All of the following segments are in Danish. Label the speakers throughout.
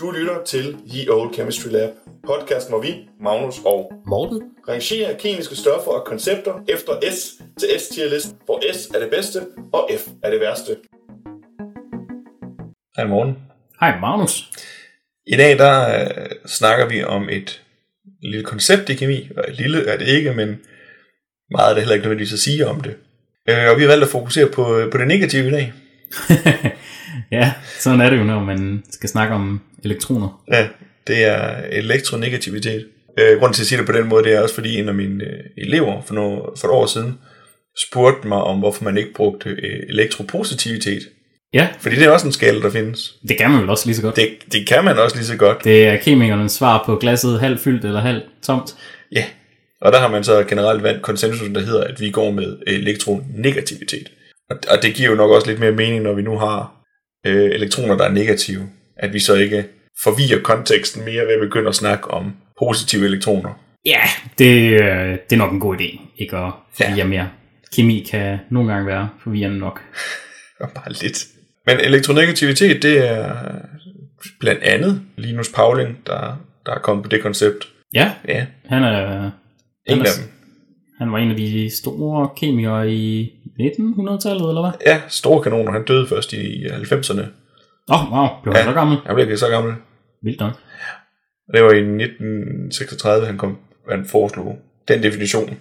Speaker 1: Du lytter til The Old Chemistry Lab, podcast hvor vi, Magnus og
Speaker 2: Morten?
Speaker 1: rangerer kemiske stoffer og koncepter efter S til S-tierlisten, hvor S er det bedste og F er det værste. Hej morgen.
Speaker 2: Hej Magnus.
Speaker 1: I dag der øh, snakker vi om et lille koncept i kemi, og et lille er det ikke, men meget er det heller ikke nødvendigvis at sige om det. Øh, og vi har valgt at fokusere på, øh, på det negative i dag.
Speaker 2: ja, sådan er det jo, når man skal snakke om elektroner.
Speaker 1: Ja, det er elektronegativitet. Øh, grunden til at sige det på den måde, det er også fordi en af mine øh, elever for, noget, for et år siden spurgte mig om, hvorfor man ikke brugte øh, elektropositivitet.
Speaker 2: Ja,
Speaker 1: Fordi det er også en skala, der findes.
Speaker 2: det kan man vel også lige så godt. Det,
Speaker 1: Det, det kan man også lige så godt.
Speaker 2: det er kemikernes svar på glasset halvt fyldt eller halvt tomt.
Speaker 1: Ja. Og der har man så generelt valgt konsensusen, der hedder, at vi går med elektronegativitet. Og, og det giver jo nok også lidt mere mening, når vi nu har øh, elektroner, der er negative. At vi så ikke forvirrer konteksten mere ved at begynde at snakke om positive elektroner.
Speaker 2: Ja, det, øh, det er nok en god idé, ikke at
Speaker 1: Ja.
Speaker 2: forvirre ja. mere. Kemi kan nogle gange være forvirrende nok.
Speaker 1: Og bare lidt. Men elektronegativitet, det er øh, blandt andet Linus Pauling, der, der er kommet på det koncept.
Speaker 2: Ja,
Speaker 1: Ja,
Speaker 2: han er...
Speaker 1: en
Speaker 2: han,
Speaker 1: af
Speaker 2: er,
Speaker 1: dem.
Speaker 2: han var en af de store kemikere i 1900-tallet, eller hvad?
Speaker 1: Ja, store kanoner. Han døde først i 90'erne.
Speaker 2: Åh, oh, wow, blev han
Speaker 1: Ja.
Speaker 2: så gammel?
Speaker 1: Han blev ikke så gammel.
Speaker 2: Vildt nok.
Speaker 1: Og det var i 1936, han, kom, han foreslog den definition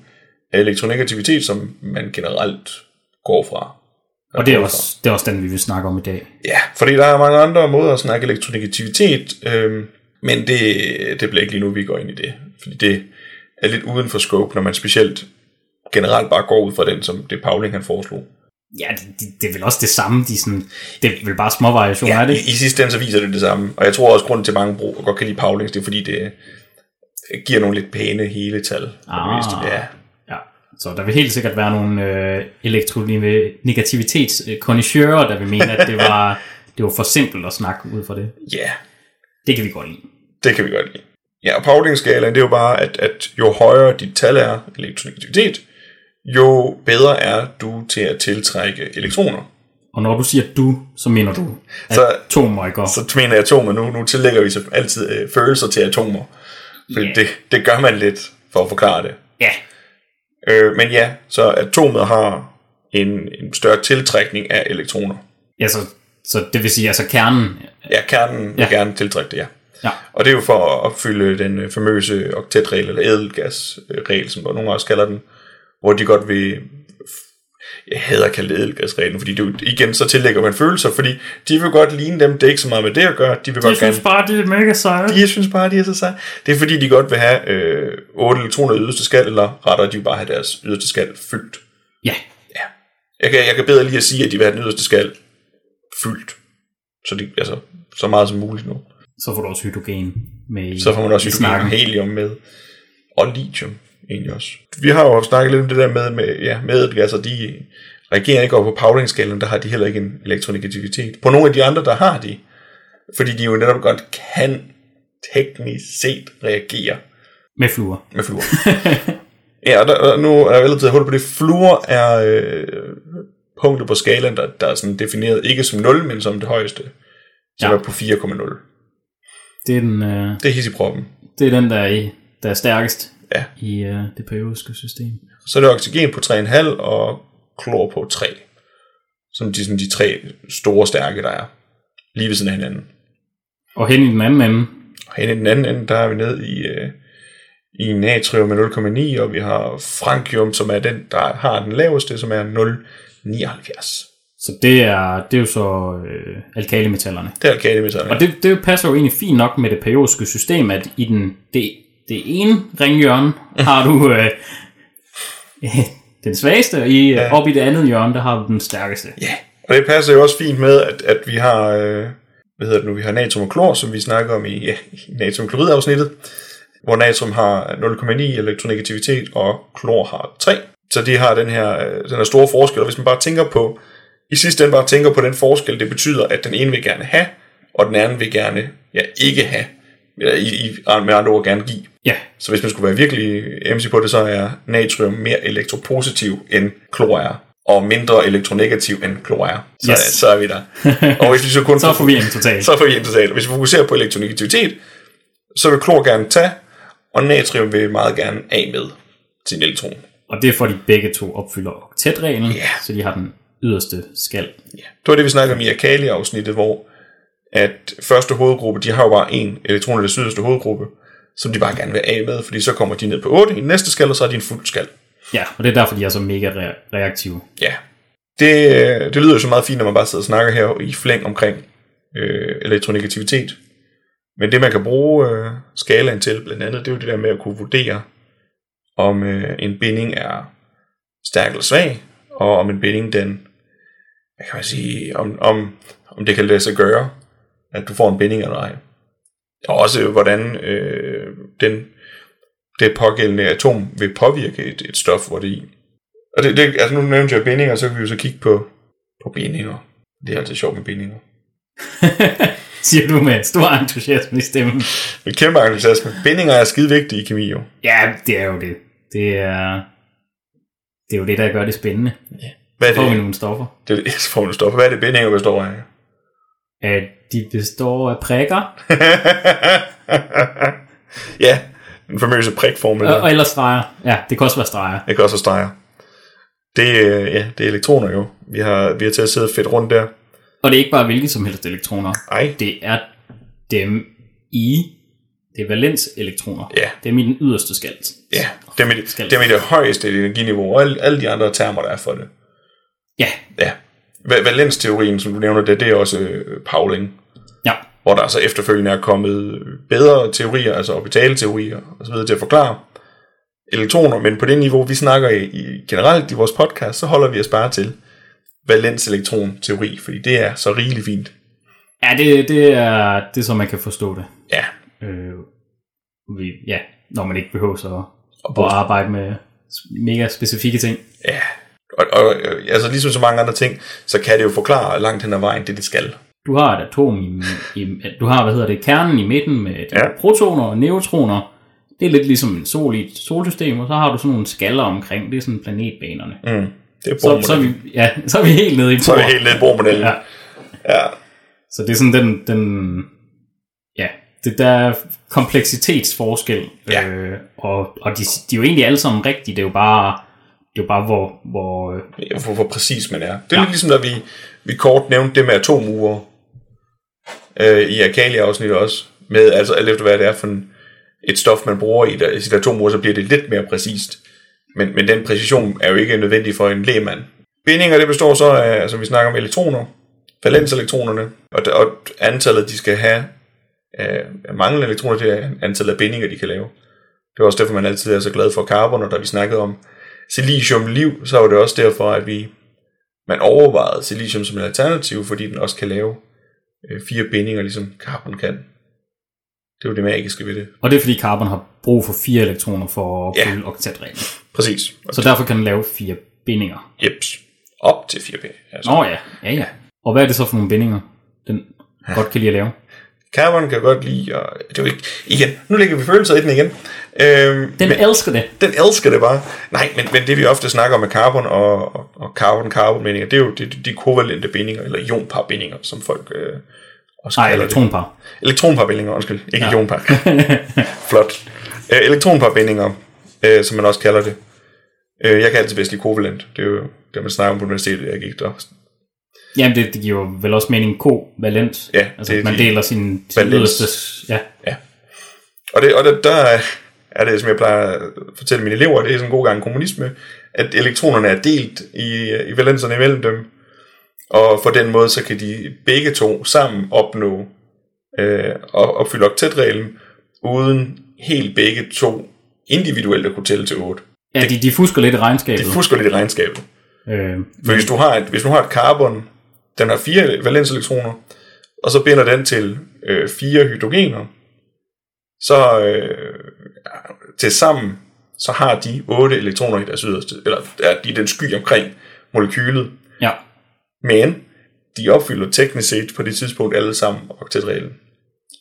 Speaker 1: af elektronegativitet, som man generelt går fra.
Speaker 2: Og det er, også, det er også den, vi vil snakke om i dag.
Speaker 1: Ja, fordi der er mange andre måder at snakke elektronegativitet, øhm, men det, det bliver ikke lige nu, vi går ind i det. Fordi det er lidt uden for scope, når man specielt generelt bare går ud fra den, som det Pauling han foreslog.
Speaker 2: Ja, det, det, det er vel også det samme. De er sådan, det er vel bare små variationer ja, af det.
Speaker 1: I, I sidste ende så viser det det samme, og jeg tror også, grunden til at mange brug, godt kan lide Paulings, det er fordi, det giver nogle lidt pæne hele tal.
Speaker 2: Ah.
Speaker 1: Ja,
Speaker 2: Ja. Så der vil helt sikkert være nogle øh, elektronegativitetskonnoisseurer, der vil mene, at det var, det var for simpelt at snakke ud fra det.
Speaker 1: ja,
Speaker 2: Det kan vi godt lide.
Speaker 1: det kan vi godt lide. Ja, og Paulings-skalaen, det er jo bare, at, at jo højere dit tal er, elektronegativitet, jo bedre er du til at tiltrække elektroner.
Speaker 2: Og når du siger du, så mener du
Speaker 1: Så-
Speaker 2: atomer, ikke? Så,
Speaker 1: så mener jeg atomer nu. Nu tillægger vi så altid øh, følelser til atomer. Fordi
Speaker 2: Ja.
Speaker 1: yeah. det, det gør man lidt for at forklare det.
Speaker 2: ja,
Speaker 1: Øh, men ja, så atomet har en, en større tiltrækning af elektroner.
Speaker 2: ja så, så det vil sige, altså kernen.
Speaker 1: Ja, kernen vil
Speaker 2: Ja.
Speaker 1: gerne tiltrække det, ja.
Speaker 2: Ja.
Speaker 1: Og det er jo for at opfylde den øh, famøse oktetregel, eller ædelgasregel, som der nogen også kalder den, hvor de godt vil... Jeg hader at kalde det ædelgasreglen, fordi det, er jo- igen, så tillægger man følelser, fordi de vil godt ligne dem, det er ikke så meget med det at gøre, de vil godt gerne
Speaker 2: bare, det er mega sejt.
Speaker 1: De, jeg synes bare, de er så seje. Det er fordi, de godt vil have øh, 8 elektroner i yderste skal, eller rettere, de vil bare have deres yderste skal fyldt.
Speaker 2: Ja,
Speaker 1: Jeg kan, jeg kan bedre lige at sige, at de vil have den yderste skal fyldt. Så, de, altså, så meget som muligt nu.
Speaker 2: så får du også hydrogen med i,
Speaker 1: Så får man også
Speaker 2: i
Speaker 1: hydrogen og helium med. Og lithium egentlig også. Vi har jo snakket lidt om det der med, med, ja, med at altså, de regerer ikke over på Pauling-skalaen, der har de heller ikke en elektronegativitet. På nogle af de andre, der har de. Fordi de jo netop godt kan teknisk set reagere
Speaker 2: Med fluer.
Speaker 1: med fluer. ja, og der, og nu er jeg altid hul på det. Fluer er øh, punktet på skalaen, der, der er sådan defineret ikke som 0, men som det højeste, som
Speaker 2: Ja.
Speaker 1: ja. er på 4,0.
Speaker 2: Det er den, øh,
Speaker 1: Det er hissigproppen.
Speaker 2: det er den der, er, i- der er stærkest
Speaker 1: Ja.
Speaker 2: i øh, det periodiske system.
Speaker 1: Så er det oxygen på 3,5 og klor på 3. Som de, sådan de tre store stærke, der er. Lige ved siden af hinanden.
Speaker 2: Og hen i den anden ende,
Speaker 1: Og hen i den anden ende, der er vi ned i, øh, i natrium med 0,9, og vi har frankium, som er den, der har den laveste, som er 0,79.
Speaker 2: så det er, det er jo så øh, alkalimetallerne.
Speaker 1: Det er alkalimetallerne.
Speaker 2: Og det, det passer jo egentlig fint nok med det periodiske system, at i den, det, det ene ringhjørne har du øh, øh, den svageste, og i, ja. op i det andet hjørne, der har du den stærkeste.
Speaker 1: Ja, og det passer jo også fint med, at, at vi har, øh, hvad hedder det nu, vi har natrium og klor, som vi snakker om i, ja, i natriumklorid-afsnittet, hvor natrium har 0,9 elektronegativitet, og klor har 3. Så de har den her, øh, den her store forskel, og hvis man bare tænker på, i sidste ende bare tænker på den forskel, det betyder, at den ene vil gerne have, og den anden vil gerne, ja, ikke have, eller i, i, med andre ord gerne give.
Speaker 2: Ja,
Speaker 1: Så hvis man skulle være virkelig MC på det, så er natrium mere elektropositiv, end klor er. og mindre elektronegativ end klor er. Så,
Speaker 2: Yes.
Speaker 1: så er vi der. Og hvis vi så kun
Speaker 2: Så er forvirringen total.
Speaker 1: så er forvirringen total. Hvis vi fokuserer på elektronegativitet, så vil klor gerne tage, og natrium vil meget gerne af med sin elektron.
Speaker 2: Og det er for, at de begge to opfylder oktætreglen,
Speaker 1: Ja.
Speaker 2: så de har den yderste skal.
Speaker 1: Ja. Det var det, vi snakkede om i Akali-afsnittet, hvor at første hovedgruppe, de har jo bare en elektron i det sydligste hovedgruppe, som de bare gerne vil af med, fordi så kommer de ned på 8 i den næste skal, og så er de en fuld skal.
Speaker 2: Ja, og det er derfor, de er så mega re- reaktive.
Speaker 1: Ja. Det, øh, det lyder jo så meget fint, når man bare sidder og snakker her i flæng omkring øh, elektronegativitet. Men det, man kan bruge øh, skalaen til, blandt andet, det er jo det der med at kunne vurdere, om øh, en binding er stærk eller svag, og om en binding, den, hvad kan man sige, om, om, om det kan lade sig gøre, at du får en binding eller ej. Og også øh, hvordan øh, den, det pågældende atom vil påvirke et, et stof, hvor det er i. Og det, det, altså nu nævnte jeg bindinger, så kan vi jo så kigge på, på bindinger. Det er altid sjovt med bindinger.
Speaker 2: Siger du med stor entusiasme i stemmen.
Speaker 1: Med kæmpe entusiasme. Bindinger er skide vigtige i kemi jo.
Speaker 2: Ja, det er jo det. Det er, det er jo det, der gør det spændende.
Speaker 1: Hvad er
Speaker 2: Får vi
Speaker 1: det?
Speaker 2: nogle stoffer?
Speaker 1: Det er så får man stoffer. Hvad er det bindinger består af?
Speaker 2: At de består af prikker
Speaker 1: ja, den famøse prikformel.
Speaker 2: og,
Speaker 1: der.
Speaker 2: og ellers øh, streger. Ja, det kan også være streger.
Speaker 1: Jeg kan også have streger. Det, øh, ja, det er elektroner jo. Vi har, vi har til at sidde fedt rundt der.
Speaker 2: Og det er ikke bare hvilke som helst elektroner.
Speaker 1: Ej,
Speaker 2: Det er dem i... Det er valenselektroner.
Speaker 1: Ja.
Speaker 2: Dem i den yderste skalt.
Speaker 1: ja. Det er med det, det, er med det højeste energiniveau, og alle, alle de andre termer, der er for det.
Speaker 2: Ja,
Speaker 1: Ja. Va- Valensteorien, som du nævner, det, det er også øh, Pauling.
Speaker 2: ja.
Speaker 1: hvor der så efterfølgende er kommet bedre teorier, altså orbitalteorier osv. til at forklare elektroner, men på det niveau, vi snakker i, i generelt i vores podcast, så holder vi os bare til valenselektroteori, fordi det er så rigeligt fint.
Speaker 2: Ja, det, det er det, er så man kan forstå det.
Speaker 1: Ja,
Speaker 2: Øh, vi, ja, når man ikke behøver så
Speaker 1: og,
Speaker 2: at arbejde med mega specifikke ting.
Speaker 1: ja. Og, og, øh, altså ligesom så mange andre ting, så kan det jo forklare langt hen ad vejen det, det skal.
Speaker 2: Du har et atom i, i du har, hvad hedder det, kernen i midten med de
Speaker 1: Ja.
Speaker 2: ja. protoner og neutroner. Det er lidt ligesom en sol i et solsystem, og så har du sådan nogle skaller omkring, det er sådan planetbanerne.
Speaker 1: Mm. Det er
Speaker 2: Så, så, er
Speaker 1: bormodellen.
Speaker 2: vi, ja, så er vi helt nede i
Speaker 1: Så er vi
Speaker 2: bord.
Speaker 1: helt nede i bormodellen.
Speaker 2: Ja.
Speaker 1: Ja. ja.
Speaker 2: Så det er sådan den, den ja, det der kompleksitetsforskel.
Speaker 1: Ja.
Speaker 2: Øh, og og de, de er jo egentlig alle sammen rigtige, det er jo bare, det er jo bare hvor, hvor øh,
Speaker 1: hvor, hvor præcis man er. Det er ja. lidt ligesom, da vi, vi kort nævnte det med atomure øh, i Akalia-afsnittet også, med altså alt efter hvad det er for en, et stof, man bruger i, der, i sit atomure, så bliver det lidt mere præcist. Men, men den præcision er jo ikke nødvendig for en lægmand. Bindinger, det består så af, altså vi snakker om elektroner, valenselektronerne, og, og antallet, de skal have af, af manglende elektroner, det er antallet af bindinger, de kan lave. Det var også derfor, man altid er så glad for carbon, og da vi snakkede om silicium liv, så var det også derfor, at vi man overvejede silicium som et alternativ, fordi den også kan lave øh, fire bindinger, ligesom carbon kan. Det er jo det magiske ved det.
Speaker 2: Og det er fordi carbon har brug for fire elektroner for at
Speaker 1: Ja.
Speaker 2: opfylde ja. oktatreglen.
Speaker 1: Præcis. Og
Speaker 2: Så derfor kan den lave fire bindinger.
Speaker 1: Altså, jeps. Op til fire bindinger. Altså.
Speaker 2: Nå ja, ja ja. Og hvad er det så for nogle bindinger, den ja. godt kan lide at lave?
Speaker 1: Carbon kan godt lide, og det er jo ikke, igen, nu lægger vi følelser i den igen. Øhm,
Speaker 2: Den men, elsker det.
Speaker 1: den elsker det bare. Nej, men, men det vi ofte snakker om med carbon og, og, og carbon-carbon-bindinger, det er jo de, de- de kovalente bindinger, eller ionpar-bindinger, som folk øh, også
Speaker 2: Nej,
Speaker 1: kalder det.
Speaker 2: elektronpar.
Speaker 1: Elektronparbindinger, undskyld. Ikke ja. ionpar. Flot. Øh, elektronparbindinger, øh, som man også kalder det. Øh, jeg kan altid bedst lide kovalent. Det er jo det, man snakker om på universitetet, jeg gik der.
Speaker 2: Jamen det, det giver jo vel også mening kovalent.
Speaker 1: Ja,
Speaker 2: altså
Speaker 1: det
Speaker 2: det,
Speaker 1: er
Speaker 2: man
Speaker 1: de-
Speaker 2: deler sin sin
Speaker 1: valens.
Speaker 2: yderste... Ja,
Speaker 1: Og, det, og det, der er- er det, som jeg plejer at fortælle mine elever, det er sådan en god gang kommunisme, at elektronerne er delt i, i valenserne imellem dem. Og på den måde, så kan de begge to sammen opnå øh, og opfylde oktetreglen, uden helt begge to individuelt at kunne tælle til 8.
Speaker 2: ja de, de fusker lidt i regnskabet.
Speaker 1: Det fusker lidt i regnskabet.
Speaker 2: øh,
Speaker 1: For hvis du har et, hvis du har et carbon, den har fire valenselektroner, og så binder den til øh, fire hydrogener, så øh, til sammen, så har de otte elektroner i deres yderste, eller er de den sky omkring molekylet,
Speaker 2: ja,
Speaker 1: men de opfylder teknisk set på det tidspunkt alle sammen oktetreglen.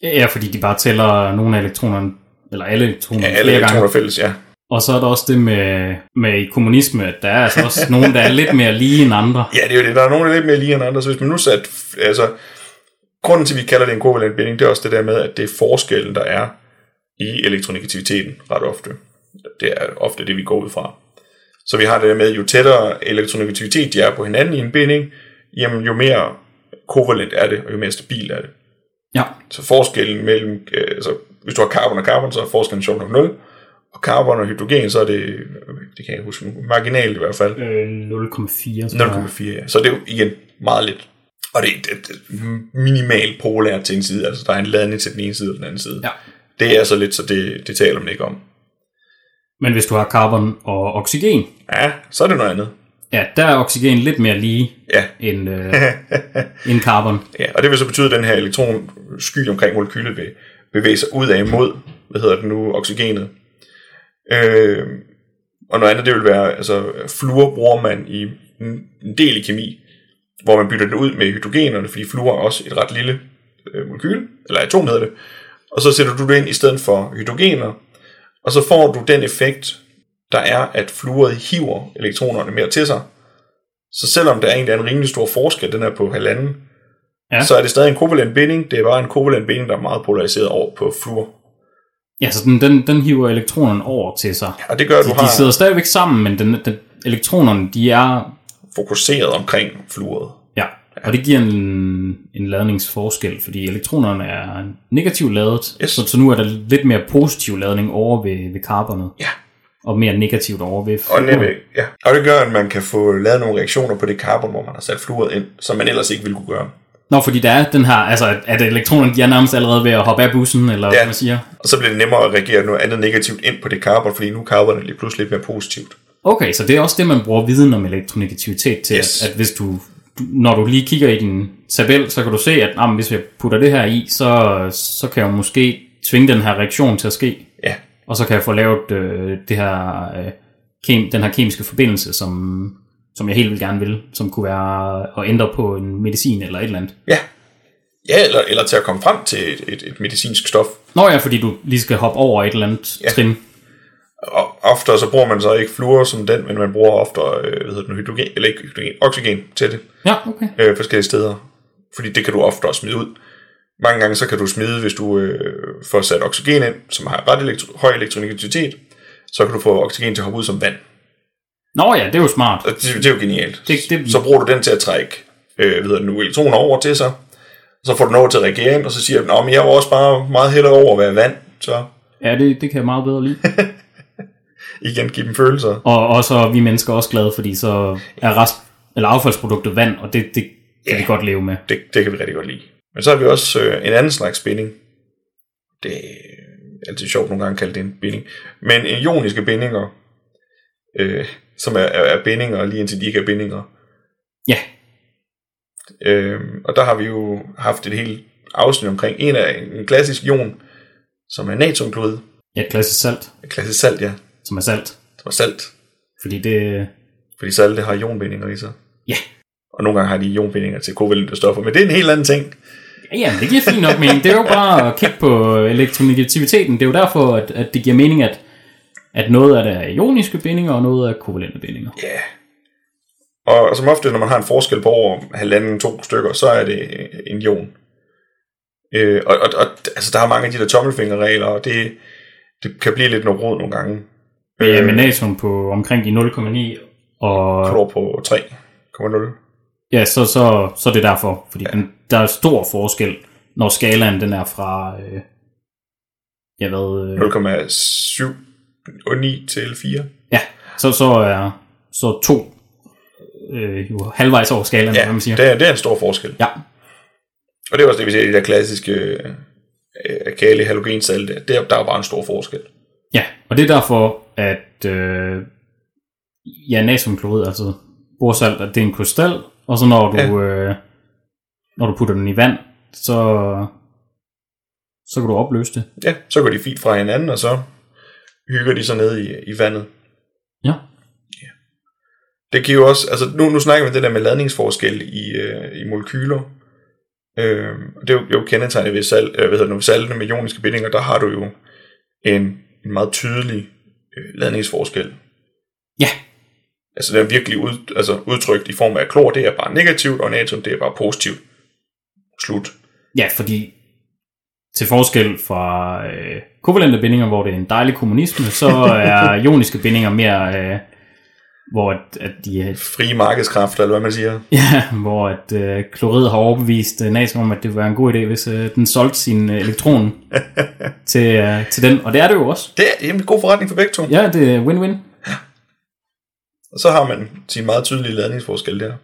Speaker 2: ja, fordi de bare tæller nogle af elektronerne, eller alle elektroner
Speaker 1: Ja,
Speaker 2: ja,
Speaker 1: alle
Speaker 2: flere gange.
Speaker 1: elektroner er fælles, ja.
Speaker 2: Og så er der også det med, med i kommunisme, at der er altså også nogen, der er lidt mere lige end andre.
Speaker 1: Ja, det er jo det. Der er nogen, der er lidt mere lige end andre. Så hvis man nu satte... Altså, grunden til, at vi kalder det en kovalent binding, det er også det der med, at det er forskellen, der er i elektronegativiteten ret ofte. Det er ofte det, vi går ud fra. Så vi har det der med, jo tættere elektronegativitet de er på hinanden i en binding, jamen jo mere kovalent er det, og jo mere stabil er det.
Speaker 2: Ja,
Speaker 1: Så forskellen mellem, øh, altså hvis du har carbon og carbon, så er forskellen sjovt nok 0, og carbon og hydrogen, så er det, øh, det kan jeg ikke huske nu, marginalt i hvert fald,
Speaker 2: øh, 0,4. tror jeg.
Speaker 1: 0,4. Ja. Så det er jo igen meget lidt. Og det er det, det, minimalt polært til en side, altså der er en ladning til den ene side og den anden side.
Speaker 2: Ja.
Speaker 1: Det er så lidt, så det, det taler man ikke om.
Speaker 2: Men hvis du har carbon og oxygen,
Speaker 1: Ja, så er det noget andet.
Speaker 2: ja, der er oxygen lidt mere lige
Speaker 1: Ja,
Speaker 2: end, øh, end carbon.
Speaker 1: Ja, og det vil så betyde, at den her elektronsky omkring molekylet vil bevæge sig ud af imod, hvad hedder det nu, oxygenet. Øh, og noget andet, det vil være, altså fluor bruger man i en en del i kemi, hvor man bytter den ud med hydrogenerne, fordi fluor er også et ret lille øh, molekyl, eller atom hedder det, og så sætter du det ind i stedet for hydrogener, og så får du den effekt, der er, at fluoret hiver elektronerne mere til sig. Så selvom der egentlig er en rimelig stor forskel, den er på halvanden,
Speaker 2: Ja.
Speaker 1: ja. så er det stadig en kovalent binding. Det er bare en kovalent binding, der er meget polariseret over på fluor.
Speaker 2: Ja, så den, den, den hiver elektronerne over til sig.
Speaker 1: Og det gør, at du
Speaker 2: De
Speaker 1: har
Speaker 2: sidder stadigvæk sammen, men den, den, elektronerne, de er...
Speaker 1: fokuseret omkring fluoret.
Speaker 2: Ja, og det giver en, en ladningsforskel, fordi elektronerne er negativt ladet,
Speaker 1: Yes.
Speaker 2: så, så nu er der lidt mere positiv ladning over ved, ved carbonet,
Speaker 1: Ja.
Speaker 2: og mere negativt over ved...
Speaker 1: Og, nemlig, ja. og det gør, at man kan få lavet nogle reaktioner på det carbon, hvor man har sat fluoret ind, som man ellers ikke ville kunne gøre.
Speaker 2: Nå, fordi der er den her, altså at, at elektronerne, de er nærmest allerede ved at hoppe af bussen, eller ja. hvad man siger.
Speaker 1: Og så bliver det nemmere at reagere noget andet negativt ind på det carbon, fordi nu er carbonet lige pludselig lidt mere positivt.
Speaker 2: Okay, så det er også det, man bruger viden om elektronegativitet til,
Speaker 1: Yes.
Speaker 2: yes. at, at hvis du, du, når du lige kigger i din tabel, så kan du se, at jamen, hvis jeg putter det her i, så, så kan jeg måske tvinge den her reaktion til at ske,
Speaker 1: Ja,
Speaker 2: og så kan jeg få lavet øh, det her, øh, kem, den her kemiske forbindelse, som, som jeg helt vil gerne vil, som kunne være at ændre på en medicin eller et eller andet.
Speaker 1: ja. ja eller, eller til at komme frem til et, et, et medicinsk stof.
Speaker 2: Nå ja, fordi du lige skal hoppe over et eller andet ja. trin.
Speaker 1: Og ofte så bruger man så ikke fluor som den, men man bruger ofte øh, hvad hedder det, nu, hydrogen, eller ikke hydrogen, oxygen til det.
Speaker 2: Ja, okay.
Speaker 1: øh, forskellige steder. Fordi det kan du ofte også smide ud. Mange gange så kan du smide, hvis du øh, får sat oxygen ind, som har ret elektro- høj elektronegativitet, så kan du få oxygen til at hoppe ud som vand.
Speaker 2: Nå ja, det er jo smart.
Speaker 1: Og det, det er jo genialt.
Speaker 2: Det- det-
Speaker 1: Så bruger du den til at trække øh, ved nu, elektroner over til sig, så får du den over til regeringen, og så siger den, at jeg var også bare meget hellere over at være vand, så
Speaker 2: Ja, det, det kan jeg meget bedre lide.
Speaker 1: igen give dem følelser.
Speaker 2: Og, og så er vi mennesker også glade, fordi så er rest, eller affaldsproduktet vand, og det, det kan vi
Speaker 1: Ja.
Speaker 2: godt leve med.
Speaker 1: Det, det kan vi rigtig godt lide. Men så har vi også øh, en anden slags binding. Det er altid sjovt nogle gange at kalde det en binding. Men ioniske bindinger, øh, som er, er, er bindinger lige indtil de ikke er bindinger.
Speaker 2: Ja,
Speaker 1: Øh, og der har vi jo haft et helt afsnit omkring en af en klassisk ion, som er natriumklorid.
Speaker 2: ja klassisk salt,
Speaker 1: Klassisk salt, ja.
Speaker 2: som er salt.
Speaker 1: Som er salt.
Speaker 2: Fordi det...
Speaker 1: Fordi salt det har ionbindinger i sig.
Speaker 2: Ja.
Speaker 1: Og nogle gange har de ionbindinger til kovalente stoffer, men det er en helt anden ting.
Speaker 2: Ja, Ja, det giver fint nok mening. Det er jo bare at kigge på elektronegativiteten. Det er jo derfor, at, at det giver mening, at, at noget af det er ioniske bindinger, og noget er kovalente bindinger.
Speaker 1: Ja. Yeah. Og som ofte, når man har en forskel på over halvanden, to stykker, så er det en ion. Øh, og, og, og altså, der er mange af de der tommelfingerregler, og det, det kan blive lidt noget rod nogle gange. Øh.
Speaker 2: Ja, med natrium på omkring de 0,9, og
Speaker 1: Klor på 3,0.
Speaker 2: ja, så, så, så er det derfor. Fordi ja. den, der er stor forskel, når skalaen den er fra... Øh, jeg ved... Øh,
Speaker 1: 0,7 og 9 til 4.
Speaker 2: Ja, så, så er så to øh, jo halvvejs over skalaen, ja,
Speaker 1: Ja,
Speaker 2: hvad man siger.
Speaker 1: det er, det er en stor forskel.
Speaker 2: Ja,
Speaker 1: Og det er også det, vi ser i de der klassiske øh, øh, kale halogensalte. Der, der er bare en stor forskel.
Speaker 2: ja, og det er derfor, at øh, ja, natriumklorid, altså borsalt, at det er en krystal, og så når du, ja. øh, når du putter den i vand, så, så kan du opløse det.
Speaker 1: Ja, så går de fint fra hinanden, og så hygger de sig ned i, i vandet.
Speaker 2: Ja.
Speaker 1: Det giver jo også, altså nu, nu snakker vi om det der med ladningsforskel i, øh, i molekyler. Øh, og det er jo, det er jo kendetegnet ved, sal, øh, hvad hedder det, nu, ved saltene med ioniske bindinger, der har du jo en, en meget tydelig øh, ladningsforskel.
Speaker 2: Ja.
Speaker 1: Altså den er virkelig ud, altså udtrykt i form af klor, det er bare negativt, og natrium, det er bare positivt. Slut.
Speaker 2: Ja, fordi til forskel fra øh, kovalente bindinger, hvor det er en dejlig kommunisme, så er ioniske bindinger mere, øh, hvor at, at de er,
Speaker 1: Frie markedskræfter, eller hvad man siger.
Speaker 2: ja, hvor at øh, klorid har overbevist øh, natrium om, at det ville være en god idé, hvis øh, den solgte sin øh, elektron til, øh, til den. Og det er det jo også.
Speaker 1: Det er jamen, god forretning for begge to. Ja.
Speaker 2: Ja, det er win-win.
Speaker 1: Og så har man sin meget tydelige ladningsforskel der.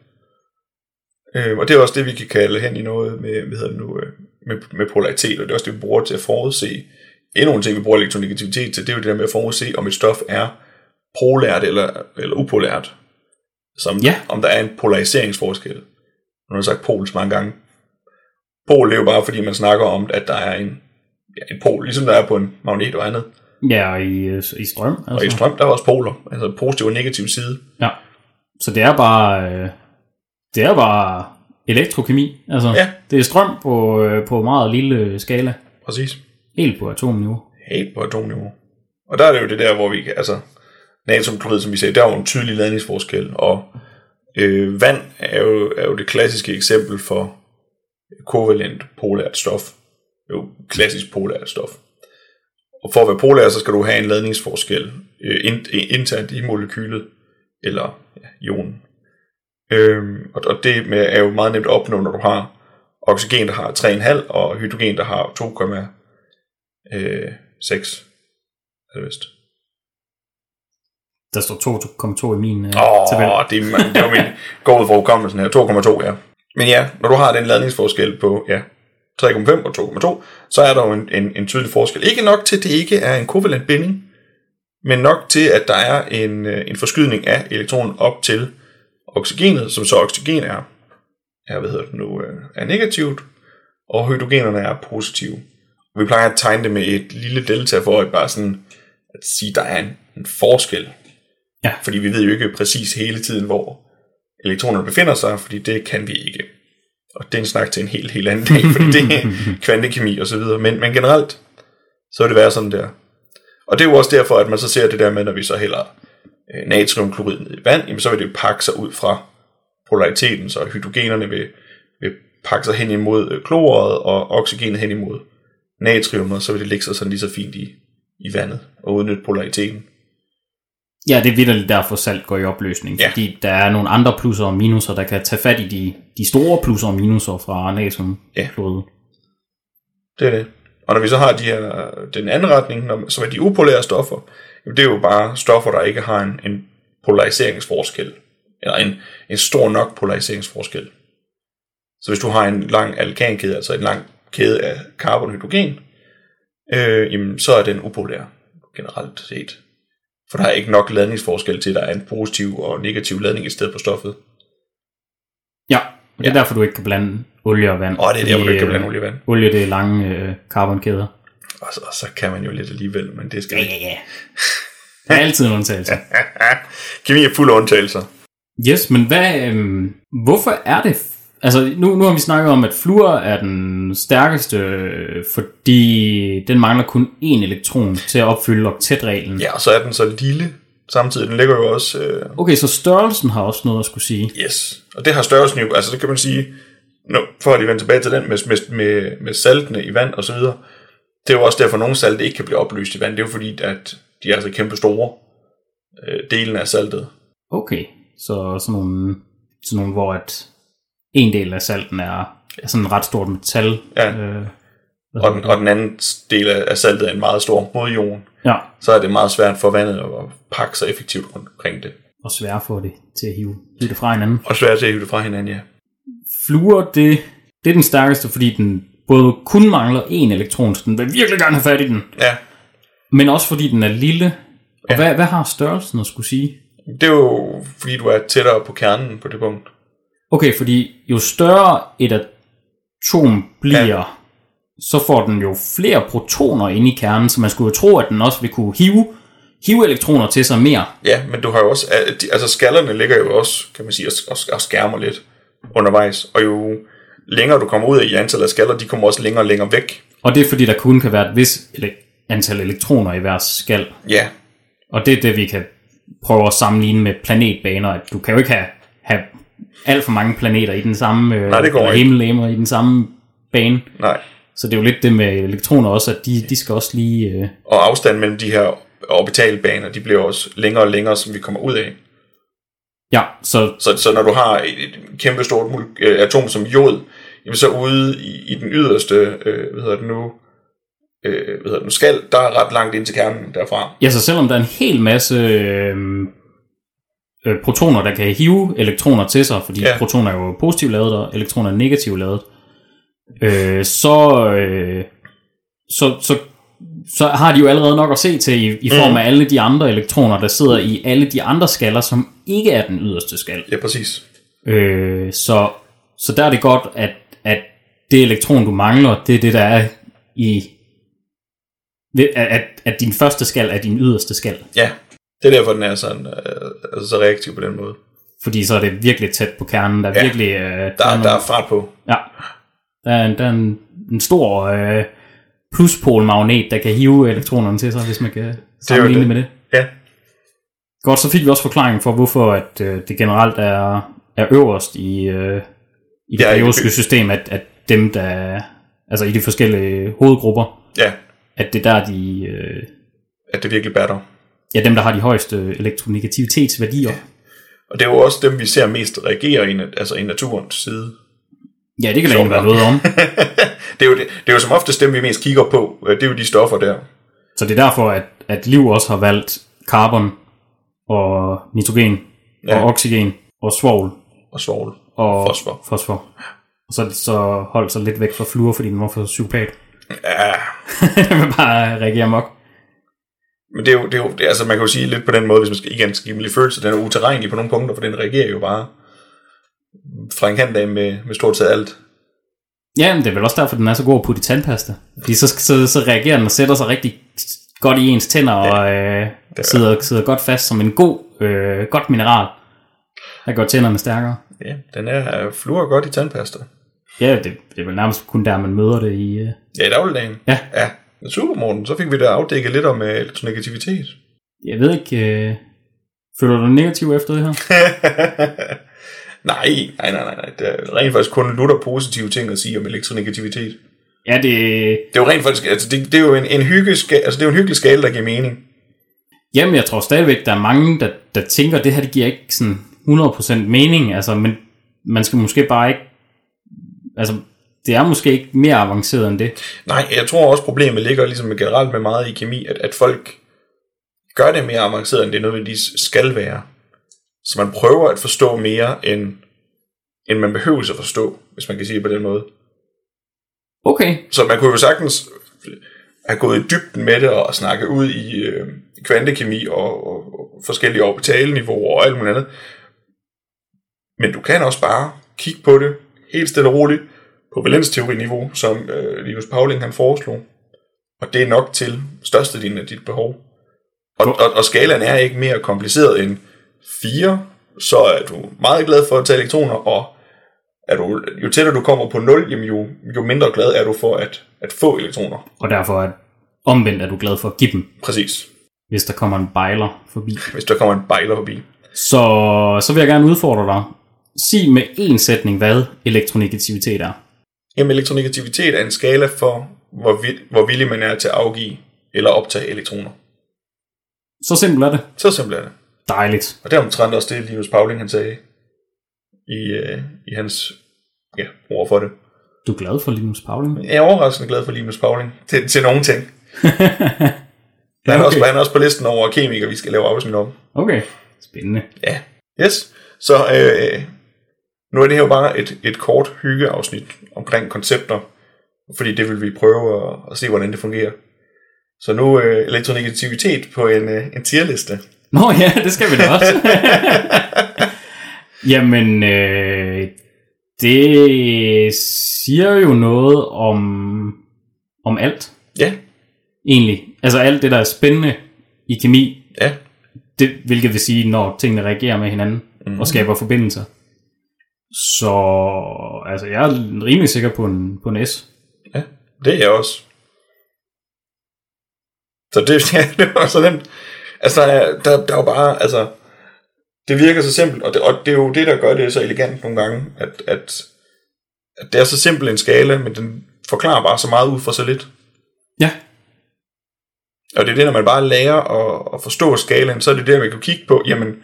Speaker 1: Øh, og det er også det, vi kan kalde hen i noget med, hvad hedder det nu, øh, med, med polaritet, og det er også det, vi bruger til at forudse. Endnu en ting, vi bruger elektronegativitet til, det er jo det der med at forudse, om et stof er polært eller, eller upolært. Som,
Speaker 2: Ja.
Speaker 1: Om der er en polariseringsforskel. Nu har jeg sagt pol så mange gange. Pol det er jo bare, fordi man snakker om, at der er en, ja, en pol, ligesom der er på en magnet og andet.
Speaker 2: Ja, og i, øh, i strøm. Altså.
Speaker 1: Og i strøm, der er også poler, altså positiv og negativ side.
Speaker 2: Ja. Så det er bare, øh, det er bare elektrokemi. Altså,
Speaker 1: Ja.
Speaker 2: det er strøm på, øh, på meget lille skala.
Speaker 1: Præcis.
Speaker 2: Helt på atomniveau.
Speaker 1: helt på atomniveau. Og der er det jo det der, hvor vi kan, altså, natriumklorid, som vi sagde, der er jo en tydelig ladningsforskel, og øh, vand er jo, er jo det klassiske eksempel for kovalent polært stof. Jo, klassisk polært stof. Og for at være polær, så skal du have en ladningsforskel øh, ind- internt i molekylet, eller ja, ionen. Øhm, og, og det med, er jo meget nemt at opnå, når du har oxygen, der har 3,5, og hydrogen, der har 2, Øh, 6. Er det vist?
Speaker 2: Der står 2,2 i min øh,
Speaker 1: Åh,
Speaker 2: tabel.
Speaker 1: oh, det, er- det var min gå ud fra hukommelsen her. 2,2, ja. Men ja, når du har den ladningsforskel på ja, 3,5 og 2,2, så er der jo en, en, en tydelig forskel. Ikke nok til, at det ikke er en kovalent binding, men nok til, at der er en, øh, en forskydning af elektronen op til oxygenet, som så oxygen er, er hvad hedder det nu, øh, er negativt, og hydrogenerne er positive. Vi plejer at tegne det med et lille delta for at bare sådan at sige, at der er en, en forskel.
Speaker 2: Ja.
Speaker 1: Fordi vi ved jo ikke præcis hele tiden, hvor elektronerne befinder sig, fordi det kan vi ikke. Og det er en snak til en helt, helt anden dag, fordi det er kvantekemi og så videre. Men, men generelt, så vil det være sådan der. Og det er jo også derfor, at man så ser det der med, når vi så hælder øh, natriumklorid ned i vand, jamen så vil det pakke sig ud fra polariteten, så hydrogenerne vil, vil pakke sig hen imod øh, kloret, og oxygenet hen imod natrium, og så vil det ligge sig sådan lige så fint i, i vandet, og udnytte polariteten.
Speaker 2: Ja, det er vidderligt derfor salt går i opløsning,
Speaker 1: Ja.
Speaker 2: ja. fordi der er nogle andre plusser og minuser, der kan tage fat i de, de store plusser og minuser fra natrium.
Speaker 1: Ja.
Speaker 2: klorid.
Speaker 1: Det er det. Og når vi så har de her, den anden retning, når, som er de upolære stoffer, jamen det er jo bare stoffer, der ikke har en, en polariseringsforskel, eller en, en stor nok polariseringsforskel. Så hvis du har en lang alkankæde, altså en lang kæde af carbonhydrogen, øh, jamen så er den upolær generelt set. For der er ikke nok ladningsforskel til, at der er en positiv og negativ ladning i stedet på stoffet.
Speaker 2: Ja, og det er derfor, du ikke kan blande olie og vand.
Speaker 1: Og det er der, hvor du ikke kan
Speaker 2: øh,
Speaker 1: blande olie og vand.
Speaker 2: Olie, det er lange øh, carbonkæder.
Speaker 1: Og så, og Altså, så kan man jo lidt alligevel, men det skal
Speaker 2: Ja,
Speaker 1: vi ikke.
Speaker 2: ja, ja. Der er altid en undtagelse.
Speaker 1: Kemi er fuld af undtagelser.
Speaker 2: Yes, men hvad, øhm, hvorfor er det... f- Altså, nu, nu har vi snakket om, at fluor er den stærkeste, øh, fordi den mangler kun én elektron til at opfylde octetreglen.
Speaker 1: Ja, og så er den så lille samtidig. Den ligger jo også... Øh,
Speaker 2: Okay, så størrelsen har også noget at skulle sige.
Speaker 1: yes. Og det har størrelsen jo... Altså, det kan man sige... Nu, for at lige vende tilbage til den med, med, med, med saltene i vand og så videre. Det er jo også derfor, at nogle salt ikke kan blive opløst i vand. Det er jo fordi, at de er så kæmpe store. Øh, delen af saltet.
Speaker 2: Okay, så sådan nogle, sådan nogle hvor at en del af salten er, er sådan en ret stort metal.
Speaker 1: Ja.
Speaker 2: Øh,
Speaker 1: Og den, og den anden del af af saltet er en meget stor modjorden.
Speaker 2: ja,
Speaker 1: Så er det meget svært for vandet at at pakke sig effektivt rundt omkring det.
Speaker 2: og svære for det til at hive hive det fra hinanden.
Speaker 1: Og svært at hive det fra hinanden, ja.
Speaker 2: Fluor, det, det er den stærkeste, fordi den både kun mangler én elektron, så den vil virkelig gerne have fat i den.
Speaker 1: Ja,
Speaker 2: Men også fordi den er lille. Og ja. hvad, hvad har størrelsen at skulle sige?
Speaker 1: det er jo fordi, du er tættere på kernen på det punkt.
Speaker 2: Okay, fordi jo større et atom bliver, ja. så får den jo flere protoner inde i kernen, så man skulle jo tro, at den også vil kunne hive, hive elektroner til sig mere.
Speaker 1: Ja, men du har jo også, al- de- altså skallerne ligger jo også, kan man sige, og, og, og skærmer lidt undervejs, og jo længere du kommer ud i antallet af skaller, de kommer også længere og længere væk.
Speaker 2: Og det er fordi, der kun kan være et vis ele- antal elektroner i hver skal.
Speaker 1: Ja,
Speaker 2: Og det er det, vi kan prøve at sammenligne med planetbaner. At du kan jo ikke have, have alt for mange planeter i den samme, øh,
Speaker 1: Nej, det går
Speaker 2: eller
Speaker 1: ikke.
Speaker 2: himmellegemer i den samme bane.
Speaker 1: Nej.
Speaker 2: Så det er jo lidt det med elektroner også, at de, de skal også lige... Øh,
Speaker 1: Og afstanden mellem de her orbitalbaner, de bliver også længere og længere, som vi kommer ud af.
Speaker 2: ja, så
Speaker 1: Så, så når du har et, et kæmpe stort mol- øh, atom som jod, jamen så ude i, i den yderste, øh, hvad hedder det nu, øh, hvad hedder det nu, skal, der er ret langt ind til kernen derfra.
Speaker 2: Ja, så selvom der er en hel masse øh, øh, protoner, der kan hive elektroner til sig, fordi
Speaker 1: Ja.
Speaker 2: ja. protoner er jo positivt lavet, og elektroner er negativt lavet, øh, så, øh, så, så, så har de jo allerede nok at se til i, i form af alle de andre elektroner, der sidder i alle de andre skaller, som ikke er den yderste skal.
Speaker 1: Ja, præcis.
Speaker 2: Øh, så, så der er det godt, at, at det elektron, du mangler, det er det, der er i... det- At, at, at din første skal er din yderste skal.
Speaker 1: Ja, det er derfor, den er sådan, øh, altså så reaktiv på den måde.
Speaker 2: Fordi så er det virkelig tæt på kernen. Der er
Speaker 1: Ja.
Speaker 2: ja. virkelig... Øh, der,
Speaker 1: Der,
Speaker 2: er
Speaker 1: der
Speaker 2: nogle,
Speaker 1: er fart på.
Speaker 2: ja, der er, en, der er en, en stor øh, pluspolmagnet, der kan hive elektronerne til sig, hvis man kan sammenligne
Speaker 1: det.
Speaker 2: det. med det.
Speaker 1: Ja,
Speaker 2: Godt, så fik vi også forklaringen for, hvorfor at, øh, det generelt er, er øverst i, øh, i
Speaker 1: Ja,
Speaker 2: det
Speaker 1: i det
Speaker 2: periodiske
Speaker 1: by-
Speaker 2: system, at, at dem, der... Altså i de forskellige hovedgrupper,
Speaker 1: ja,
Speaker 2: at det er der, de... Øh,
Speaker 1: at det virkelig batter.
Speaker 2: ja, dem, der har de højeste elektronegativitetsværdier. Ja,
Speaker 1: Og det er jo også dem, vi ser mest reagere i, nat- altså i naturens side.
Speaker 2: ja det kan der
Speaker 1: Sjovt
Speaker 2: ikke være
Speaker 1: nok.
Speaker 2: noget om.
Speaker 1: det, er jo det, det er jo som oftest dem, vi mest kigger på. Øh, Det er jo de stoffer der.
Speaker 2: Så det er derfor, at, at liv også har valgt carbon og nitrogen ja.
Speaker 1: Ja.
Speaker 2: og oxygen og svovl
Speaker 1: Og svovl.
Speaker 2: og
Speaker 1: Fosfor.
Speaker 2: fosfor. Og så, så hold sig lidt væk fra fluor, fordi den var for psykopat.
Speaker 1: Ja,
Speaker 2: Den vil bare reagere mok.
Speaker 1: men det er jo, det er jo det, er- altså man kan jo sige lidt på den måde, hvis man skal, igen skal give dem lidt følelse, den er uterrenelig på nogle punkter, for den reagerer jo bare fra en kant af med, med stort set alt.
Speaker 2: Ja, men det er vel også derfor, den er så god at putte i tandpasta. Fordi så, så, så reagerer den og sætter sig rigtig godt i ens tænder ja. og øh, sidder, sidder godt fast som en god, øh, godt mineral. Der gør tænderne stærkere.
Speaker 1: Ja, den er øh, fluer godt i tandpasta.
Speaker 2: Ja, det, det er vel nærmest kun der, man møder det i... Øh,
Speaker 1: Ja, i dagligdagen.
Speaker 2: Ja.
Speaker 1: ja. Men Super, Morten. Så fik vi da afdækket lidt om øh, elektronegativitet.
Speaker 2: Jeg ved ikke, øh, føler du dig negativ efter det her?
Speaker 1: nej, nej, nej, nej, nej. Det er rent faktisk kun lutter positive ting at sige om elektronegativitet.
Speaker 2: Ja, det...
Speaker 1: Det er jo rent faktisk, altså det, det er jo en, en hyggeska, altså det er jo en hyggelig skala, der giver mening.
Speaker 2: Jamen, jeg tror stadigvæk, der er mange, der, der tænker, det her det giver ikke sådan 100% mening, altså, men man skal måske bare ikke... Altså, det er måske ikke mere avanceret end det.
Speaker 1: Nej, jeg tror også problemet ligger ligesom generelt med meget i kemi, at, at folk gør det mere avanceret, end det nødvendigvis skal være. Så man prøver at forstå mere, end, end man behøver at forstå, hvis man kan sige det på den måde.
Speaker 2: Okay,
Speaker 1: Så man kunne jo sagtens have gået i dybden med det og snakke ud i øh, kvantekemi og, og, og forskellige orbitalniveauer og alt muligt andet. Men du kan også bare kigge på det helt stille og roligt på valensteori-niveau, som øh, Linus Pauling han foreslog. Og det er nok til størstedelen af dit behov. Og, og, og skalaen er ikke mere kompliceret end 4, så er du meget glad for at tage elektroner, og er du, jo tættere du kommer på 0, jamen jo, jo mindre glad er du for at, at få elektroner.
Speaker 2: og derfor er omvendt er du glad for at give dem,
Speaker 1: Præcis.
Speaker 2: hvis der kommer en bejler forbi.
Speaker 1: Hvis der kommer en bejler forbi.
Speaker 2: Så, så vil jeg gerne udfordre dig. Sig med én sætning, hvad elektronegativitet er.
Speaker 1: Jamen elektronegativitet er en skala for, hvor, vid, hvor villig man er til at afgive eller optage elektroner.
Speaker 2: Så simpelt er det.
Speaker 1: Så simpelt er det.
Speaker 2: Dejligt.
Speaker 1: Og det er omtrent også det, Linus Pauling han sagde i, øh, i hans ja, ord for det.
Speaker 2: Du er glad for Linus Pauling?
Speaker 1: Jeg er overraskende glad for Linus Pauling til, til nogle ting. Han er,
Speaker 2: Ja,
Speaker 1: også,
Speaker 2: okay.
Speaker 1: han er også på listen over kemikere, vi skal lave afsnit om.
Speaker 2: Okay, spændende.
Speaker 1: Ja. Yes. Så øh, nu er det her jo bare et, et kort hyggeafsnit omkring koncepter, fordi det vil vi prøve at, at se, hvordan det fungerer. Så nu øh, elektronegativitet på en, øh, en tierliste.
Speaker 2: Nå ja, det skal vi da også. Jamen, øh, det siger jo noget om, om alt,
Speaker 1: Ja,
Speaker 2: egentlig. Altså alt det, der er spændende i kemi,
Speaker 1: ja,
Speaker 2: det, hvilket vil sige, når tingene reagerer med hinanden mm. og skaber forbindelser. Så altså, jeg er rimelig sikker på en, på en S.
Speaker 1: ja. Det er jeg også. Så det, ja, det var så nemt. Altså, der er, der, der er jo bare, altså, det virker så simpelt, og det, og det er jo det, der gør det så elegant nogle gange, at, at, at det er så simpel en skala, men den forklarer bare så meget ud fra så lidt.
Speaker 2: Ja.
Speaker 1: Og det er det, når man bare lærer at, at forstå skalaen, så er det der, man kan kigge på, jamen,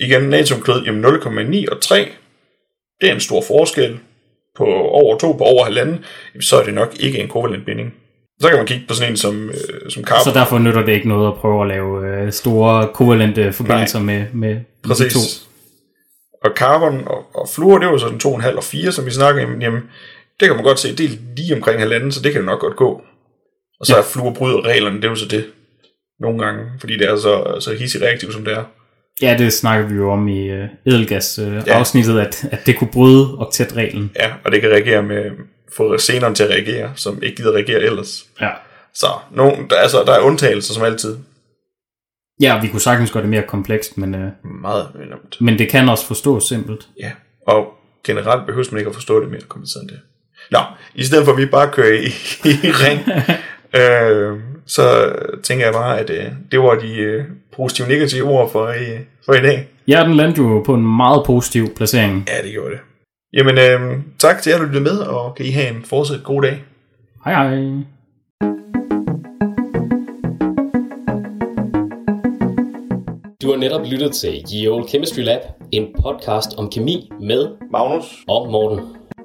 Speaker 1: igen, natriumklød, jamen 0,9 og 3, det er en stor forskel på over 2 på over halvanden, jamen, så er det nok ikke en kovalent binding. Så kan man kigge på sådan en som, øh, som
Speaker 2: Så
Speaker 1: carbon.
Speaker 2: derfor nytter det ikke noget at prøve at lave øh, store kovalente forbindelser med, med med de to.
Speaker 1: Præcis. Og carbon og, og fluor, det var sådan 2,5 og 4, som vi snakkede om. Jamen, det kan man godt se, det er lige omkring halvanden, så det kan jo nok godt gå. Og så ja. er fluor bryder reglerne, det er jo så det. Nogle gange, fordi det er så, så hissigt reaktivt, som det er.
Speaker 2: Ja, det snakker vi jo om i øh, edelgas-afsnittet, at, at det kunne bryde oktætreglen.
Speaker 1: Ja, og det kan reagere med, få seneren til at reagere, som ikke gider reagere ellers.
Speaker 2: Ja.
Speaker 1: Så nogen, der, altså, der er undtagelser som altid.
Speaker 2: ja, vi kunne sagtens gøre det mere komplekst, men, øh,
Speaker 1: Meget nemt.
Speaker 2: men det kan også forstås simpelt.
Speaker 1: Ja, og generelt behøver man ikke at forstå det mere kompliceret end det. Nå, i stedet for at vi bare kører i, i ring, øh, så tænker jeg bare, at øh, det var de øh, positive og negative ord for i, for i dag.
Speaker 2: Ja, den landte jo på en meget positiv placering.
Speaker 1: Ja, det gjorde det. Jamen, øh, tak til jer, der lyttede med, og kan I have en fortsat god dag.
Speaker 2: Hej hej.
Speaker 3: Du har netop lyttet til Ye Old Chemistry Lab, en podcast om kemi med
Speaker 1: Magnus,
Speaker 3: og Morten.